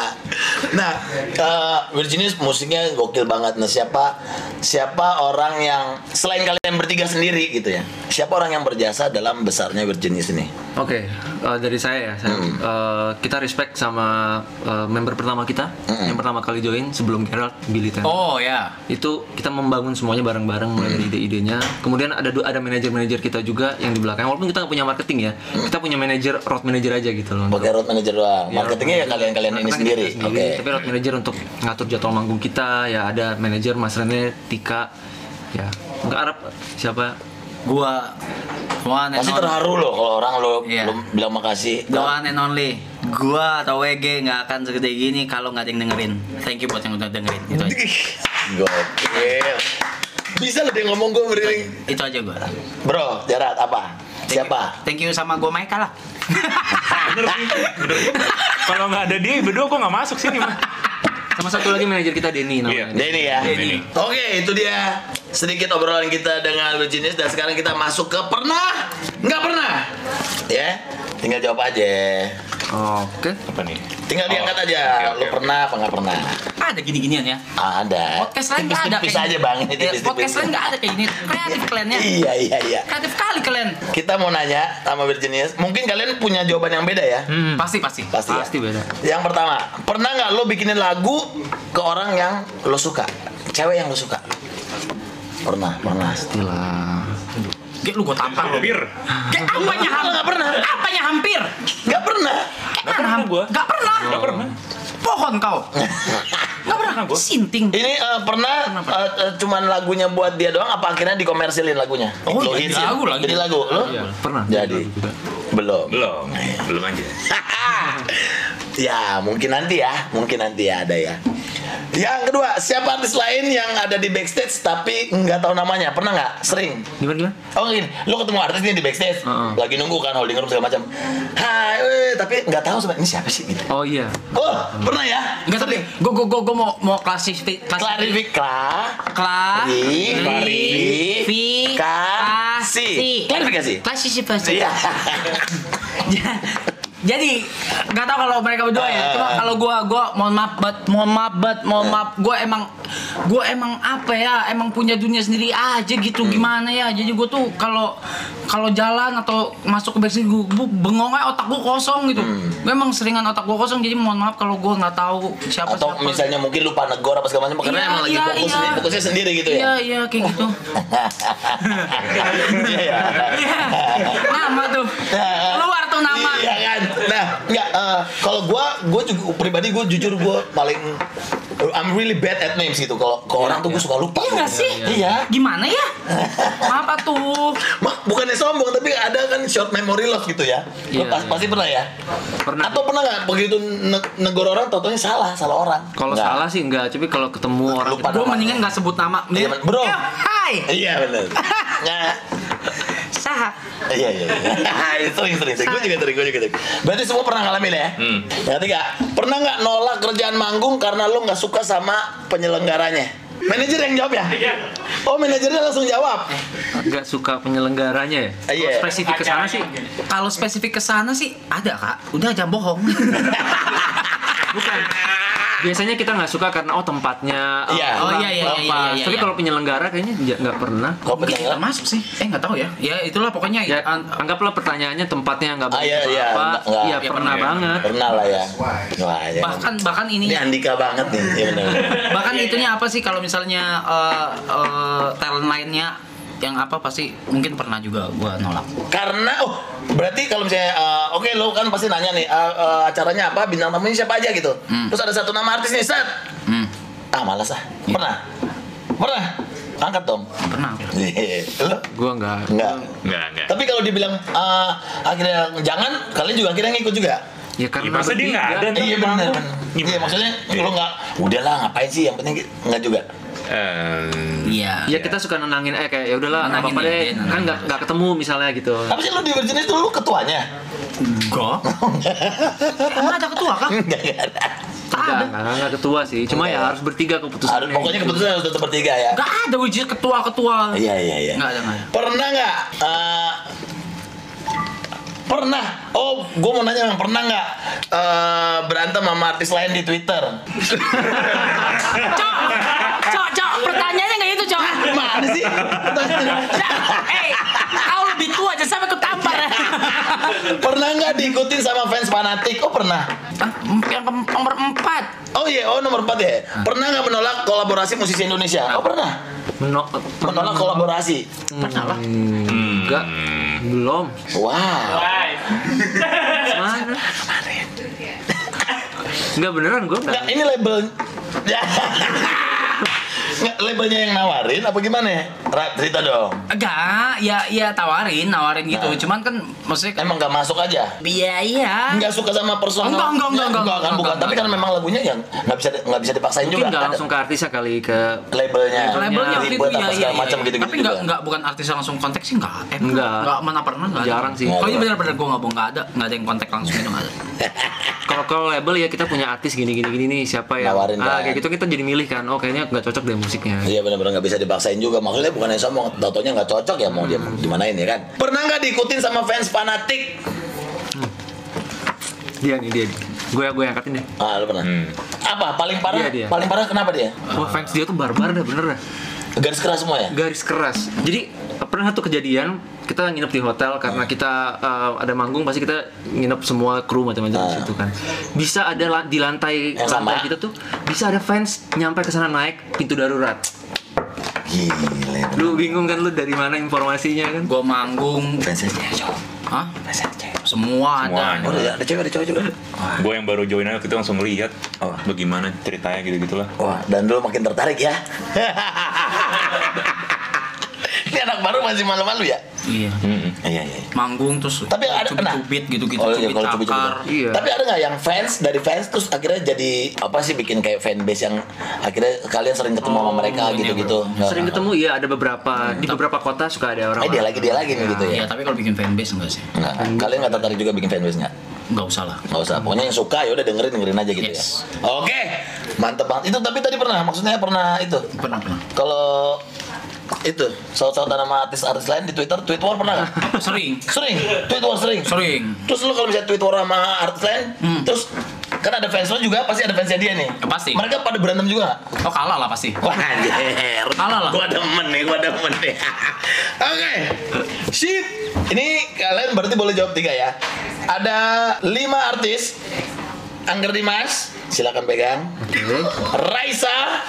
Speaker 2: nah, eh, Virginia musiknya gokil banget. Nah, siapa siapa orang yang selain kalian bertiga sendiri gitu ya? Siapa orang yang berjasa dalam besarnya Virginia ini?
Speaker 1: Oke, eh, dari saya ya.
Speaker 2: Hmm.
Speaker 1: Saya, eh, kita respect sama eh, member pertama kita,
Speaker 2: Hmm.
Speaker 1: yang pertama kali join sebelum Gerald Billy Tanner.
Speaker 3: Oh ya.
Speaker 1: Itu kita membangun semuanya bareng-bareng mulai
Speaker 2: Hmm.
Speaker 1: dari ide-idenya. Kemudian ada du- ada manajer-manajer kita juga yang di belakang. Walaupun kita nggak punya marketing ya,
Speaker 2: Hmm.
Speaker 1: kita punya manajer road manager aja gitu loh.
Speaker 2: Pakai road manager doang.
Speaker 1: Ya,
Speaker 2: Marketingnya ya
Speaker 1: road manager.
Speaker 2: kalian-kalian ini
Speaker 1: Marketing
Speaker 2: sendiri.
Speaker 1: kita
Speaker 2: Oke.
Speaker 1: Tapi road manager untuk ngatur jadwal manggung kita ya ada manajer Mas Rene, Tika, ya nggak Arab siapa?
Speaker 3: Gua one and
Speaker 2: Pasti
Speaker 3: only.
Speaker 2: terharu loh kalau orang lo
Speaker 3: Iya.
Speaker 2: lo bilang makasih.
Speaker 3: The one and only. Gua atau WG nggak akan segede gini kalau nggak ada yang dengerin. Thank you buat yang udah dengerin. Itu aja.
Speaker 2: Gokil. Bisa lo dia ngomong gue beriring.
Speaker 3: Itu aja gua.
Speaker 2: Bro, Jarat apa?
Speaker 3: Thank you-
Speaker 2: Siapa?
Speaker 3: Thank you sama gua Maika lah.
Speaker 4: Bener sih. bener. Kalau nggak ada dia berdua kok nggak masuk sini mah.
Speaker 1: Sama satu lagi manajer kita Denny namanya.
Speaker 4: Iya.
Speaker 2: Denny ya.
Speaker 4: Denny.
Speaker 2: Oke, itu dia sedikit obrolan kita dengan Virginis dan sekarang kita masuk ke pernah nggak pernah. Ya, tinggal jawab aja.
Speaker 1: Oke.
Speaker 4: Apa nih?
Speaker 2: Tinggal
Speaker 4: Oh,
Speaker 2: diangkat aja.
Speaker 4: oke,
Speaker 2: Lu
Speaker 4: oke, oke.
Speaker 2: pernah apa nggak pernah?
Speaker 3: Ada gini-ginian ya.
Speaker 2: Ada.
Speaker 3: Podcast lain nggak ada.
Speaker 2: Tipis
Speaker 3: kayak
Speaker 2: aja
Speaker 3: gini.
Speaker 2: bang.
Speaker 3: Ya,
Speaker 2: Tipis-tipis.
Speaker 3: Podcast lain nggak ada kayak gini. Kreatif kalian ya.
Speaker 2: Iya iya iya.
Speaker 3: Kreatif kali kalian.
Speaker 2: Kita mau nanya sama Virginis. Mungkin kalian punya jawaban yang beda ya?
Speaker 3: Pasti pasti.
Speaker 2: Pasti. ya?
Speaker 1: Pasti beda.
Speaker 2: Yang pertama, pernah nggak lo bikinin lagu ke orang yang lo suka? Cewek yang lo suka? Pernah, pernah.
Speaker 1: Pastilah.
Speaker 3: Gak lu gua tampar lu.
Speaker 4: Hampir.
Speaker 3: Kayak apanya hampir?
Speaker 2: Nggak pernah.
Speaker 3: Apanya hampir?
Speaker 2: Nggak pernah.
Speaker 4: Nggak pernah gua.
Speaker 3: Gak pernah.
Speaker 4: Nggak pernah.
Speaker 3: Pohon kau. Gak pernah.
Speaker 4: pernah gua.
Speaker 3: Sinting.
Speaker 2: Ini eh, pernah eh, eh, cuman lagunya buat dia doang apa akhirnya dikomersilin lagugunya?
Speaker 3: Oh,
Speaker 2: Lo
Speaker 3: jadi
Speaker 2: hitsin?
Speaker 3: lagu lagi.
Speaker 2: Jadi lagu lo?
Speaker 1: Iya, pernah.
Speaker 2: Jadi.
Speaker 1: Juga.
Speaker 2: Belum.
Speaker 4: Belum. Belum aja.
Speaker 2: ya, mungkin nanti ya, mungkin nanti ya ada ya. Yang kedua, siapa artis lain yang ada di backstage tapi nggak tahu namanya? Pernah nggak? Sering.
Speaker 1: Gimana gimana?
Speaker 2: Oh gini, lu ketemu artis nih di backstage,
Speaker 1: Heeh.
Speaker 2: lagi nunggu kan holding room segala macam. Hai, weh, tapi nggak tahu sebenarnya ini siapa sih gitu.
Speaker 1: Oh iya.
Speaker 2: Oh, pernah ya?
Speaker 3: Enggak tapi gue gue gue mau mau klasifi
Speaker 2: Klarifikasi.
Speaker 3: Kla
Speaker 2: Ri-
Speaker 3: Fi-
Speaker 2: klarifikasi.
Speaker 3: Kasi.
Speaker 2: Klarifikasi.
Speaker 3: klasifikasi.
Speaker 2: Iya.
Speaker 3: Ja- Jadi nggak tahu kalau mereka berdua ya. Cuma
Speaker 2: Ah.
Speaker 3: kalau gua gua mohon maaf bat, mohon maaf bat,
Speaker 2: Ya.
Speaker 3: mohon maaf. Gua emang gua emang apa ya? Emang punya dunia sendiri aja gitu
Speaker 2: Hmm.
Speaker 3: gimana ya? Jadi gua tuh kalau kalau jalan atau masuk ke backstage gua, gua bengong aja otak gua kosong gitu.
Speaker 2: Hmm.
Speaker 3: Gua emang seringan otak gua kosong jadi mohon maaf kalau gua nggak tahu siapa
Speaker 2: Atau
Speaker 3: siapa.
Speaker 2: misalnya gitu mungkin lupa negor apa segala macam karena
Speaker 3: Iya,
Speaker 2: emang lagi
Speaker 3: iya,
Speaker 2: fokus
Speaker 3: iya.
Speaker 2: fokusnya sendiri gitu
Speaker 3: Iya,
Speaker 2: ya.
Speaker 3: iya kayak gitu.
Speaker 2: Iya. ya.
Speaker 3: Iya. Nama tuh. Keluar tuh nama.
Speaker 2: Iya kan. Nah, enggak eh, kalau gua gua juga pribadi gua jujur gua paling I'm really bad at names gitu. Kalau ke orang tuh gua suka lupa.
Speaker 3: Iya nggak sih?
Speaker 2: Iya.
Speaker 3: Gimana ya? Apa tuh?
Speaker 2: Ma- bukannya sombong tapi ada kan short memory loss gitu ya.
Speaker 1: Iya,
Speaker 2: Lu pas-
Speaker 1: iya.
Speaker 2: pasti pernah ya?
Speaker 1: Pernah.
Speaker 2: Atau pernah nggak begitu ne- negor orang totonya salah, salah orang.
Speaker 1: Kalau
Speaker 2: Nggak.
Speaker 1: salah sih enggak, tapi kalau ketemu orang
Speaker 2: Lupa
Speaker 3: Gue
Speaker 2: nama.
Speaker 3: mendingan nggak sebut nama.
Speaker 2: Iya,
Speaker 3: Mending-
Speaker 1: Oh.
Speaker 2: bro.
Speaker 3: Eh, Hai.
Speaker 2: Iya benar. Nah,
Speaker 3: Sah.
Speaker 2: iya iya. iya. sering sering. sering. Gue juga sering, gue juga sering. Berarti semua pernah ngalamin ya?
Speaker 4: Hmm.
Speaker 2: Yang ketiga, pernah nggak nolak kerjaan manggung karena lo nggak suka sama penyelenggaranya? Manajer yang jawab ya? Oh, manajernya langsung jawab.
Speaker 1: Eh, enggak suka penyelenggaranya ya.
Speaker 2: Iya.
Speaker 1: Kalau Spesifik ke sana sih.
Speaker 3: Kalau spesifik ke sana sih ada kak. Udah jangan bohong.
Speaker 1: Bukan. Biasanya kita nggak suka karena oh tempatnya eh,
Speaker 2: Iya.
Speaker 3: Oh,
Speaker 1: kurang
Speaker 3: iya, iya, iya,
Speaker 1: pas.
Speaker 3: iya, iya,
Speaker 1: Tapi
Speaker 3: iya.
Speaker 1: kalau penyelenggara kayaknya nggak- nggak pernah.
Speaker 2: Kok
Speaker 3: Mungkin
Speaker 2: penyelenggara?
Speaker 1: Iya,
Speaker 3: termasuk sih. Eh nggak tahu ya. Ya itulah pokoknya.
Speaker 1: Ya,
Speaker 3: an-
Speaker 1: anggaplah pertanyaannya tempatnya nggak
Speaker 2: Ah,
Speaker 1: bagus
Speaker 2: iya,
Speaker 1: apa.
Speaker 2: iya, nggak- nggak.
Speaker 1: Iya,
Speaker 3: Iya,
Speaker 1: pernah
Speaker 4: pernah.
Speaker 1: banget.
Speaker 2: Pernah lah ya. Wah, ya.
Speaker 3: bahkan bahkan
Speaker 2: ini
Speaker 3: ininya
Speaker 2: Andika banget nih. Iya benar.
Speaker 3: bahkan itunya apa sih kalau misalnya eh, eh, talent lainnya yang apa pasti mungkin pernah juga gua nolak.
Speaker 2: Karena oh berarti kalau misalnya eh, oke lo kan pasti nanya nih eh, eh, acaranya apa bintang tamunya siapa aja gitu. Terus ada satu nama artis nih set.
Speaker 3: Hmm,
Speaker 2: Ah malas ah. Pernah? Pernah? Angkat dong.
Speaker 3: pernah.
Speaker 2: Lo?
Speaker 1: Gua nggak.
Speaker 2: Enggak.
Speaker 4: Enggak, enggak.
Speaker 2: Tapi kalau dibilang eh, akhirnya jangan, kalian juga akhirnya ngikut juga.
Speaker 1: Ya karena
Speaker 4: Ya, masa dia nggak
Speaker 1: bertiga.
Speaker 4: ada?
Speaker 2: Eh, Iya benar. benar.
Speaker 4: Gimana?
Speaker 2: Iya maksudnya lo nggak, udahlah ngapain sih? Yang penting nggak juga.
Speaker 4: Eh,
Speaker 3: Iya.
Speaker 1: Ya kita suka nenangin eh kayak ya udahlah nggak
Speaker 3: Nenangin
Speaker 1: apa-apa
Speaker 3: ya,
Speaker 1: deh.
Speaker 3: iya,
Speaker 1: Kan
Speaker 3: nenangin.
Speaker 1: nggak nggak ketemu misalnya gitu.
Speaker 2: Tapi sih lo di Virgin itu lo ketuanya.
Speaker 3: Enggak. Hmm. Emang ada ketua kak?
Speaker 2: Nggak, nggak ada.
Speaker 3: Tak
Speaker 1: Enggak,
Speaker 3: ada.
Speaker 1: enggak, enggak, enggak ketua sih. Cuma ya harus bertiga keputusannya.
Speaker 2: Harus- Pokoknya keputusan harus tetap bertiga ya.
Speaker 3: Enggak ada wujud ketua-ketua.
Speaker 2: Iya iya iya.
Speaker 3: Enggak ada, enggak ada.
Speaker 2: Pernah nggak? eh, pernah. Oh, gue mau nanya yang pernah nggak eh, berantem sama artis lain di Twitter?
Speaker 3: Cok! Cok, cok, pertanyaannya enggak itu, cok.
Speaker 2: Mana sih?
Speaker 3: Ya, Eh, kau lebih tua aja sampai aku tampar.
Speaker 2: pernah nggak diikutin sama fans fanatik? Oh pernah.
Speaker 3: Ah, Yang ke- nomor empat.
Speaker 2: Oh iya, oh nomor 4 ya. Pernah nggak menolak kolaborasi musisi Indonesia? Oh pernah.
Speaker 1: Meno-
Speaker 2: Menolak kolaborasi.
Speaker 3: Pernah lah.
Speaker 1: enggak. Belum.
Speaker 2: Wow.
Speaker 1: Mana? Enggak beneran gue enggak.
Speaker 2: Nggak, ini label. Nggak, labelnya yang nawarin apa gimana ya? Ra, cerita dong.
Speaker 3: Enggak, ya ya tawarin, nawarin gitu.
Speaker 2: Nah.
Speaker 3: Cuman kan maksudnya
Speaker 2: Emang nggak masuk aja?
Speaker 3: Iya, iya.
Speaker 2: nggak suka sama personal
Speaker 3: Enggak, enggak, enggak,
Speaker 2: kan
Speaker 3: enggak, enggak,
Speaker 2: bukan
Speaker 3: enggak,
Speaker 2: tapi
Speaker 3: enggak.
Speaker 2: karena memang lagunya yang nggak bisa nggak bisa dipaksain
Speaker 1: Mungkin
Speaker 2: juga
Speaker 1: enggak
Speaker 2: Ada
Speaker 1: langsung ke artisnya kali ke
Speaker 2: labelnya
Speaker 3: Labelnya waktu itu
Speaker 2: ribet
Speaker 3: ya,
Speaker 2: apa
Speaker 3: iya,
Speaker 2: segala macam gitu
Speaker 3: iya.
Speaker 2: gitu
Speaker 3: Tapi enggak, enggak bukan artis yang langsung kontak sih enggak. Eh,
Speaker 1: Enggak.
Speaker 3: Enggak mana pernah enggak. ada.
Speaker 1: Jarang sih.
Speaker 3: Pokoknya benar-benar gua enggak bohong, enggak ada, enggak ada yang kontak langsung itu enggak ada.
Speaker 1: kalau kalau label ya kita punya artis gini gini gini nih siapa ya
Speaker 2: Nawarin
Speaker 1: ah,
Speaker 2: kan.
Speaker 1: kayak gitu kita jadi milih kan oh kayaknya nggak cocok deh musiknya
Speaker 2: Iya benar-benar nggak bisa dipaksain juga maksudnya bukan yang sombong tautonya nggak cocok ya mau dia dimanain ya kan pernah nggak diikutin sama fans fanatik
Speaker 1: dia nih dia gue gue angkatin deh
Speaker 2: ah lu pernah
Speaker 4: Hmm.
Speaker 2: apa paling parah
Speaker 1: Iya, dia.
Speaker 2: paling parah kenapa dia
Speaker 1: wah fans dia tuh barbar dah bener dah
Speaker 2: garis keras semua ya
Speaker 1: garis keras jadi pernah tuh kejadian kita nginep di hotel
Speaker 2: Ah.
Speaker 1: karena kita eh, ada manggung pasti kita nginep semua kru macam-macam di
Speaker 2: Ah.
Speaker 1: situ kan bisa ada la- di lantai
Speaker 2: Yang sama.
Speaker 1: lantai kita tuh bisa ada fans nyampe ke sana naik pintu darurat
Speaker 2: gile
Speaker 1: lu bingung kan lu dari mana informasinya kan
Speaker 3: Gua manggung.
Speaker 2: fansnya cowok
Speaker 3: Hah?
Speaker 2: fansnya cewek
Speaker 3: Semua ada.
Speaker 4: Semuanya.
Speaker 2: Oh, ada ada cewek ada cowok juga
Speaker 4: gue yang baru join aja waktu itu langsung lihat
Speaker 2: Oh.
Speaker 4: bagaimana ceritanya gitu gitulah
Speaker 2: Wah, dan lu makin tertarik ya. Ini ada anak baru masih malu-malu ya?
Speaker 3: Iya.
Speaker 2: Iya, iya. iya.
Speaker 3: Manggung terus
Speaker 2: Tapi ada pernah?
Speaker 3: cubit-cubit gitu-gitu
Speaker 2: Oh, iya,
Speaker 3: cubit
Speaker 2: kalau cubit-cubit.
Speaker 3: akar.
Speaker 1: Iya.
Speaker 2: Tapi ada nggak yang fans dari fans terus akhirnya jadi apa sih bikin kayak fanbase yang akhirnya kalian sering ketemu sama
Speaker 3: Oh,
Speaker 2: mereka
Speaker 3: ini
Speaker 2: gitu-gitu? Nah,
Speaker 1: Sering ketemu iya ada beberapa di beberapa kota suka ada orang.
Speaker 2: Eh dia lagi dia lagi nih gitu ya.
Speaker 3: Iya, tapi kalau bikin fanbase enggak sih?
Speaker 2: Nah, kalian nggak tertarik juga bikin fanbase nggak?
Speaker 3: Enggak usah lah.
Speaker 2: Nggak usah. Pokoknya yang suka ya udah dengerin dengerin aja gitu
Speaker 3: Yes.
Speaker 2: ya. Oke, mantep banget. Itu tapi tadi pernah maksudnya pernah itu.
Speaker 3: Pernah pernah.
Speaker 2: Kalau itu saut-sautan sama artis-artis lain di Twitter, tweet war pernah nggak?
Speaker 3: Sering.
Speaker 2: Sering, tweet war sering.
Speaker 3: Sering.
Speaker 2: Terus lu kalau misalnya tweet war sama artis lain,
Speaker 3: Hmm.
Speaker 2: terus kan ada fans lu juga pasti ada fansnya dia nih.
Speaker 3: Ya, pasti.
Speaker 2: Mereka pada berantem juga nggak?
Speaker 3: Oh kalah lah pasti.
Speaker 2: Wah, anjir.
Speaker 3: Kalah lah.
Speaker 2: Gua demen nih, gua demen nih. Oke. Sip. Ini kalian berarti boleh jawab tiga ya. Ada lima artis. Angger Dimas, silakan pegang.
Speaker 1: Oke.
Speaker 2: Raisa,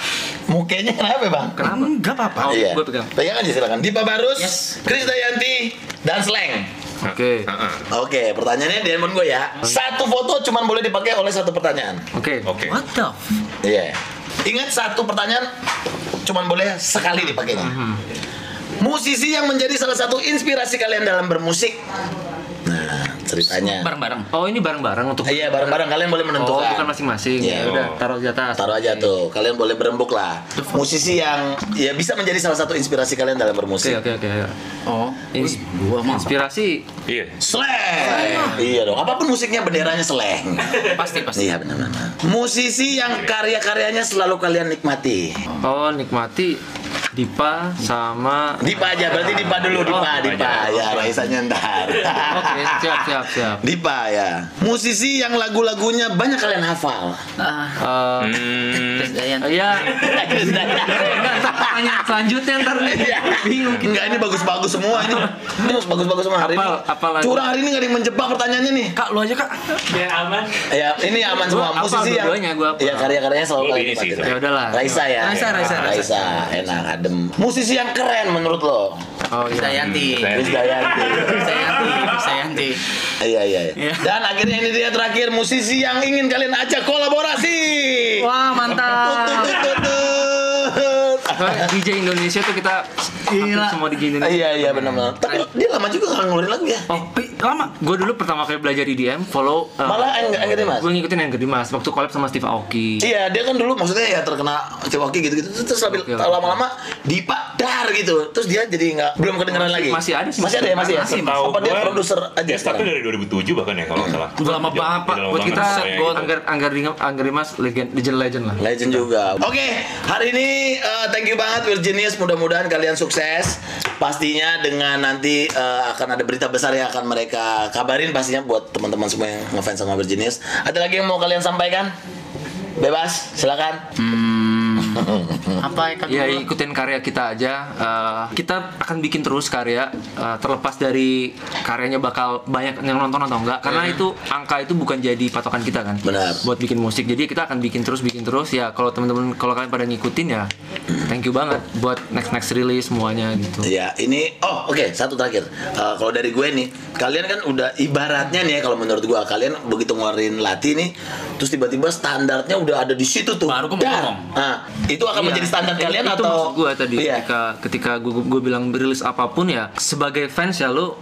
Speaker 2: mukanya kenapa bang?
Speaker 1: Kenapa?
Speaker 3: Enggak apa-apa.
Speaker 1: Oh,
Speaker 2: iya.
Speaker 1: gua pegang.
Speaker 2: Pegang aja silakan. Dipa Barus,
Speaker 3: Yes.
Speaker 2: Krisdayanti, dan Sleng.
Speaker 1: Oke.
Speaker 4: Heeh.
Speaker 2: Oke, pertanyaannya di handphone gue ya. Satu foto cuma boleh dipakai oleh satu pertanyaan.
Speaker 1: Oke.
Speaker 4: Oke.
Speaker 3: What the? f-
Speaker 2: Iya. Ingat satu pertanyaan cuman boleh sekali dipakainya.
Speaker 1: Mhm.
Speaker 2: Musisi yang menjadi salah satu inspirasi kalian dalam bermusik. Nah, ceritanya.
Speaker 3: Bareng-bareng.
Speaker 1: Oh ini bareng-bareng untuk
Speaker 2: Iya, bareng-bareng kalian boleh
Speaker 1: Oh,
Speaker 2: menentukan.
Speaker 1: bukan masing-masing.
Speaker 2: Iya.
Speaker 1: Ya udah, taruh di atas.
Speaker 2: Taruh aja tuh, kalian boleh berembuk lah. Musisi yang ya bisa menjadi salah satu inspirasi kalian dalam
Speaker 1: Oke,
Speaker 2: bermusik.
Speaker 1: oke, oke. ayo.
Speaker 3: Oh,
Speaker 1: Ini
Speaker 3: wih, gua mah
Speaker 1: inspirasi
Speaker 4: Iya.
Speaker 2: Sleng. Iya dong. Apapun musiknya benderanya seleng.
Speaker 3: pasti pasti.
Speaker 2: Iya benar-benar. Musisi yang karya-karyanya selalu kalian nikmati.
Speaker 1: Oh, nikmati Dipa sama
Speaker 2: Dipa aja, berarti Dipa dulu, Dipa,
Speaker 4: Oh,
Speaker 2: Dipa,
Speaker 4: aja.
Speaker 2: ya, Raisanya ntar.
Speaker 1: Oke, siap, siap, siap.
Speaker 2: Dipa ya, musisi yang lagu-lagunya banyak kalian hafal.
Speaker 3: Ah,
Speaker 1: Eh,
Speaker 4: Hmm.
Speaker 3: Krisdayanti.
Speaker 1: Iya. Pertanyaan selanjutnya ntar nih. bingung kita.
Speaker 2: Enggak, ini bagus-bagus semua ini. Ini bagus-bagus semua hari ini.
Speaker 1: Apal- apal lagu?
Speaker 2: Curang hari ini nggak ada yang menjebak pertanyaannya nih.
Speaker 3: Kak, lu aja kak.
Speaker 2: Ya, ini aman semua
Speaker 1: Gua apal
Speaker 2: musisi yang.
Speaker 1: dua-duanya, gua apal.
Speaker 2: Iya, karya-karyanya selalu
Speaker 4: Gua
Speaker 2: kalian
Speaker 4: ini sih,
Speaker 2: nikmati.
Speaker 4: saya.
Speaker 1: Ya udahlah.
Speaker 2: Raisa ya.
Speaker 3: Raisa, Raisa, Raisa.
Speaker 2: Raisa, enak adem. Musisi yang keren menurut lo.
Speaker 1: Oh iya.
Speaker 3: Krisdayanti.
Speaker 4: Eh.
Speaker 2: Krisdayanti.
Speaker 3: Krisdayanti. Krisdayanti.
Speaker 2: Iya iya.
Speaker 3: Iya.
Speaker 2: iya. Dan akhirnya ini dia terakhir musisi yang ingin kalian ajak kolaborasi.
Speaker 3: Wah,
Speaker 2: Tut,
Speaker 3: mantap.
Speaker 2: tut, tut, tut.
Speaker 1: Soalnya DJ Indonesia tuh kita
Speaker 3: Gila.
Speaker 1: hampir semua DJ
Speaker 2: Ah,
Speaker 1: Indonesia.
Speaker 2: Iya iya benar-benar. Tapi dia lama juga nggak ngeluarin lagu ya.
Speaker 1: Oh,
Speaker 3: Pi, lama.
Speaker 1: gue dulu pertama kali belajar EDM follow eh,
Speaker 2: Malah enggak enggak deh mas.
Speaker 1: gue ngikutin yang gede mas waktu collab sama Steve Aoki.
Speaker 2: Iya dia kan dulu maksudnya ya terkena cewoki gitu-gitu terus tapi
Speaker 1: Oke, oke.
Speaker 2: lama-lama dipadar gitu terus dia jadi nggak belum kedengeran
Speaker 1: Masih-
Speaker 2: lagi
Speaker 1: masih ada sih.
Speaker 2: masih ada ya masih ya
Speaker 1: Masih,
Speaker 4: Tahu
Speaker 2: apa dia
Speaker 4: gua,
Speaker 2: produser aja
Speaker 4: dia startnya
Speaker 2: sekarang?
Speaker 4: dari 2007 bahkan ya kalau nggak salah.
Speaker 3: Udah lama banget, Pak.
Speaker 4: Udah lama
Speaker 1: Buat kita
Speaker 4: banget, saya gitu.
Speaker 1: anggar anggar Ring- anggar Dimas legend legend legend lah.
Speaker 2: Legend juga. Oke, hari ini eh, thank you banget We're Genius. Mudah-mudahan kalian sukses. Pastinya dengan nanti eh, akan ada berita besar yang akan mereka kabarin pastinya buat teman-teman semua yang ngefans sama We're Genius. Ada lagi yang mau kalian sampaikan? Bebas, silakan.
Speaker 3: Hmm. Apa ya kak?
Speaker 1: Ya ikutin karya kita aja. Eh, kita akan bikin terus karya eh, terlepas dari karyanya bakal banyak yang nonton atau enggak. Karena itu angka itu bukan jadi patokan kita kan.
Speaker 2: Benar.
Speaker 1: Buat bikin musik. Jadi kita akan bikin terus bikin terus ya. Kalau teman-teman kalau kalian pada ngikutin ya, thank you banget buat next next release semuanya gitu.
Speaker 2: Ya, ini oh oke, satu terakhir. Eh, kalau dari gue nih, kalian kan udah ibaratnya nih ya, kalau menurut gue kalian begitu ngeluarin latih nih, terus tiba-tiba standarnya udah ada di situ tuh.
Speaker 3: Baru gue mau
Speaker 2: Dar.
Speaker 3: ngomong.
Speaker 2: Nah, itu akan
Speaker 1: Iya.
Speaker 2: menjadi standar
Speaker 1: Itu-
Speaker 2: kalian
Speaker 1: itu
Speaker 2: atau
Speaker 1: maksud gue tadi
Speaker 2: Iya.
Speaker 1: ketika ketika gue gue bilang rilis apapun ya sebagai fans ya lo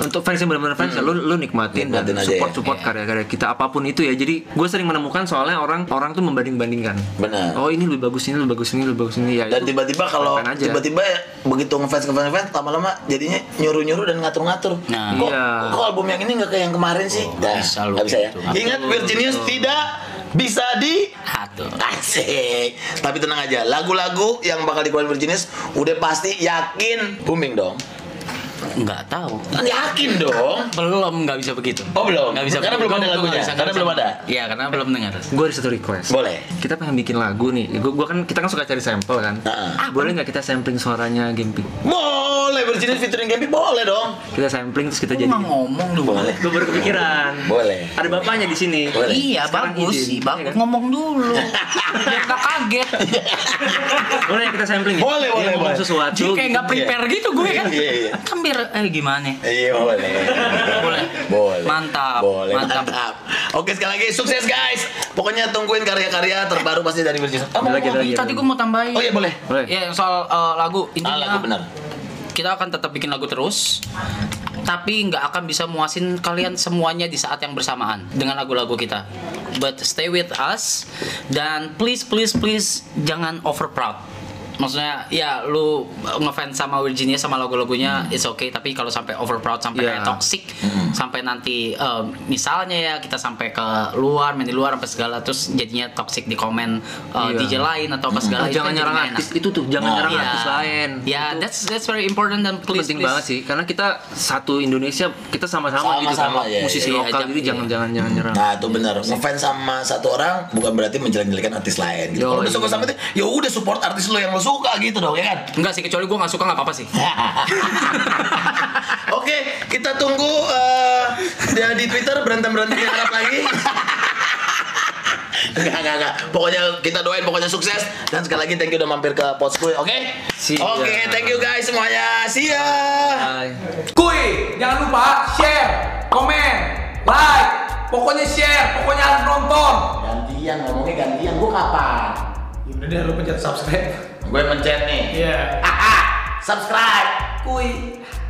Speaker 1: untuk fans yang benar-benar fans ya lu lu nikmatin,
Speaker 2: Hmm. Nikmatin
Speaker 1: dan
Speaker 2: aja
Speaker 1: support
Speaker 2: ya.
Speaker 1: support
Speaker 3: Iya.
Speaker 1: karya-karya kita apapun itu ya jadi gue sering menemukan soalnya orang orang tuh membanding-bandingkan
Speaker 2: Benar.
Speaker 1: oh ini lebih bagus ini lebih bagus ini lebih bagus ini ya
Speaker 2: dan
Speaker 1: itu
Speaker 2: tiba-tiba kalau
Speaker 1: keren aja.
Speaker 2: tiba-tiba ya, begitu ngefans ngefans ngefans lama-lama jadinya nyuruh-nyuruh dan ngatur-ngatur
Speaker 3: Nah.
Speaker 2: kok,
Speaker 1: Iya.
Speaker 2: kok album yang ini nggak kayak yang kemarin sih
Speaker 3: Oh,
Speaker 2: Dah,
Speaker 3: bisa lu
Speaker 2: nggak bisa ya
Speaker 3: gitu.
Speaker 2: ingat Virginius tidak bisa di
Speaker 3: Satu.
Speaker 2: Asik. Tapi tenang aja, lagu-lagu yang bakal dikeluarin Virginius udah pasti yakin booming dong.
Speaker 3: Enggak tahu.
Speaker 2: Yakin dong.
Speaker 3: Belum nggak bisa begitu.
Speaker 2: Oh, belum?
Speaker 3: Nggak bisa.
Speaker 2: Karena
Speaker 3: begitu.
Speaker 2: belum ada
Speaker 3: Gua- gua
Speaker 2: lagunya.
Speaker 3: nggak bisa-
Speaker 2: Karena
Speaker 3: nggak
Speaker 2: belum
Speaker 3: bisa.
Speaker 2: ada.
Speaker 3: Iya, karena belum dengar.
Speaker 1: gue ada satu request
Speaker 2: Boleh.
Speaker 1: kita pengen bikin lagu nih gue gua kan kita kan suka cari sampel kan
Speaker 2: Nah.
Speaker 1: boleh nggak kita sampling suaranya Gempi
Speaker 2: Boleh Virginius featuring Gempi boleh dong.
Speaker 1: kita sampling terus kita
Speaker 3: Lu
Speaker 1: jadi
Speaker 3: mah ngomong lu.
Speaker 2: Boleh.
Speaker 1: gue baru kepikiran
Speaker 2: Boleh.
Speaker 1: ada bapaknya di sini
Speaker 2: Boleh.
Speaker 3: Iya,
Speaker 1: Sekarang
Speaker 3: bagus
Speaker 1: izin,
Speaker 3: sih.
Speaker 1: iya
Speaker 3: Bagus
Speaker 1: kan?
Speaker 3: ngomong dulu. Biar nggak kaget.
Speaker 1: boleh kita sampling ya?
Speaker 2: Boleh,
Speaker 1: Dia
Speaker 2: boleh,
Speaker 1: ngomong
Speaker 2: boleh.
Speaker 1: sesuatu
Speaker 3: Jadi kayak nggak prepare gitu gue kan.
Speaker 2: Iya, iya.
Speaker 3: Kan biar eh gimana?
Speaker 2: Iya boleh.
Speaker 3: Boleh.
Speaker 2: Boleh.
Speaker 3: Mantap,
Speaker 2: Boleh. Mantap.
Speaker 3: mantap.
Speaker 2: Oke sekali lagi sukses guys. Pokoknya tungguin karya-karya terbaru pasti dari Virginius. Oh,
Speaker 1: Ada lagi, ada lagi, ada
Speaker 3: Tadi
Speaker 1: lagi.
Speaker 3: gue mau tambahin.
Speaker 2: oh iya Oh, boleh.
Speaker 1: boleh
Speaker 3: Ya soal eh, lagu
Speaker 2: Ah,
Speaker 3: intinya.
Speaker 2: lagu benar.
Speaker 3: kita akan tetap bikin lagu terus tapi nggak akan bisa muasin kalian semuanya di saat yang bersamaan dengan lagu-lagu kita but stay with us dan please please please jangan over proud maksudnya ya lu ngefans sama Virginia sama lagu-lagunya it's okay tapi kalau sampai over proud sampai
Speaker 1: Iya.
Speaker 3: kayak toxic sampai nanti um, misalnya ya kita sampai ke luar main di luar apa segala terus jadinya toxic di komen
Speaker 1: Iya.
Speaker 3: uh, DJ lain atau apa
Speaker 1: Ah,
Speaker 3: segala itu
Speaker 1: jangan
Speaker 3: kan jadi
Speaker 1: nyerang
Speaker 3: nggak enak.
Speaker 1: artis itu tuh, jangan
Speaker 2: Oh,
Speaker 1: nyerang
Speaker 3: Iya.
Speaker 1: artis lain.
Speaker 3: Ya,
Speaker 1: Itu-
Speaker 3: that's that's very important dan
Speaker 1: itu
Speaker 3: please,
Speaker 1: penting
Speaker 3: please.
Speaker 1: banget sih karena kita satu Indonesia kita sama-sama gitu sama
Speaker 2: Sama-sama, iya,
Speaker 1: musisi
Speaker 3: iya.
Speaker 1: lokal
Speaker 3: Iya,
Speaker 1: jadi
Speaker 3: iya.
Speaker 1: jangan jangan jangan nyerang
Speaker 2: Nah itu benar. Ngefans sama satu orang bukan berarti menjelek-jelekan artis lain. Gitu.
Speaker 1: Yo,
Speaker 2: Kalau udah
Speaker 1: iya.
Speaker 2: suka sama itu, ya udah support artis lo yang lo suka gitu dong ya kan.
Speaker 3: Enggak sih kecuali gue nggak suka nggak apa-apa sih.
Speaker 2: Oke, kita tunggu eh, dia di Twitter berantem berantem harap lagi. Enggak, enggak, enggak. Pokoknya kita doain, pokoknya sukses. Dan sekali lagi thank you udah mampir ke Potsku, oke?
Speaker 1: See ya.
Speaker 2: Oke, thank you guys semuanya. See ya.
Speaker 1: Bye.
Speaker 5: Kuy, jangan lupa share, komen, like, pokoknya share, pokoknya harus nonton.
Speaker 2: Gantian ngomongnya gantian, gua kapan?
Speaker 5: Udah deh, lu pencet subscribe.
Speaker 2: Gue pencet nih.
Speaker 5: Iya.
Speaker 2: Ah, ah, subscribe.
Speaker 5: Kuy.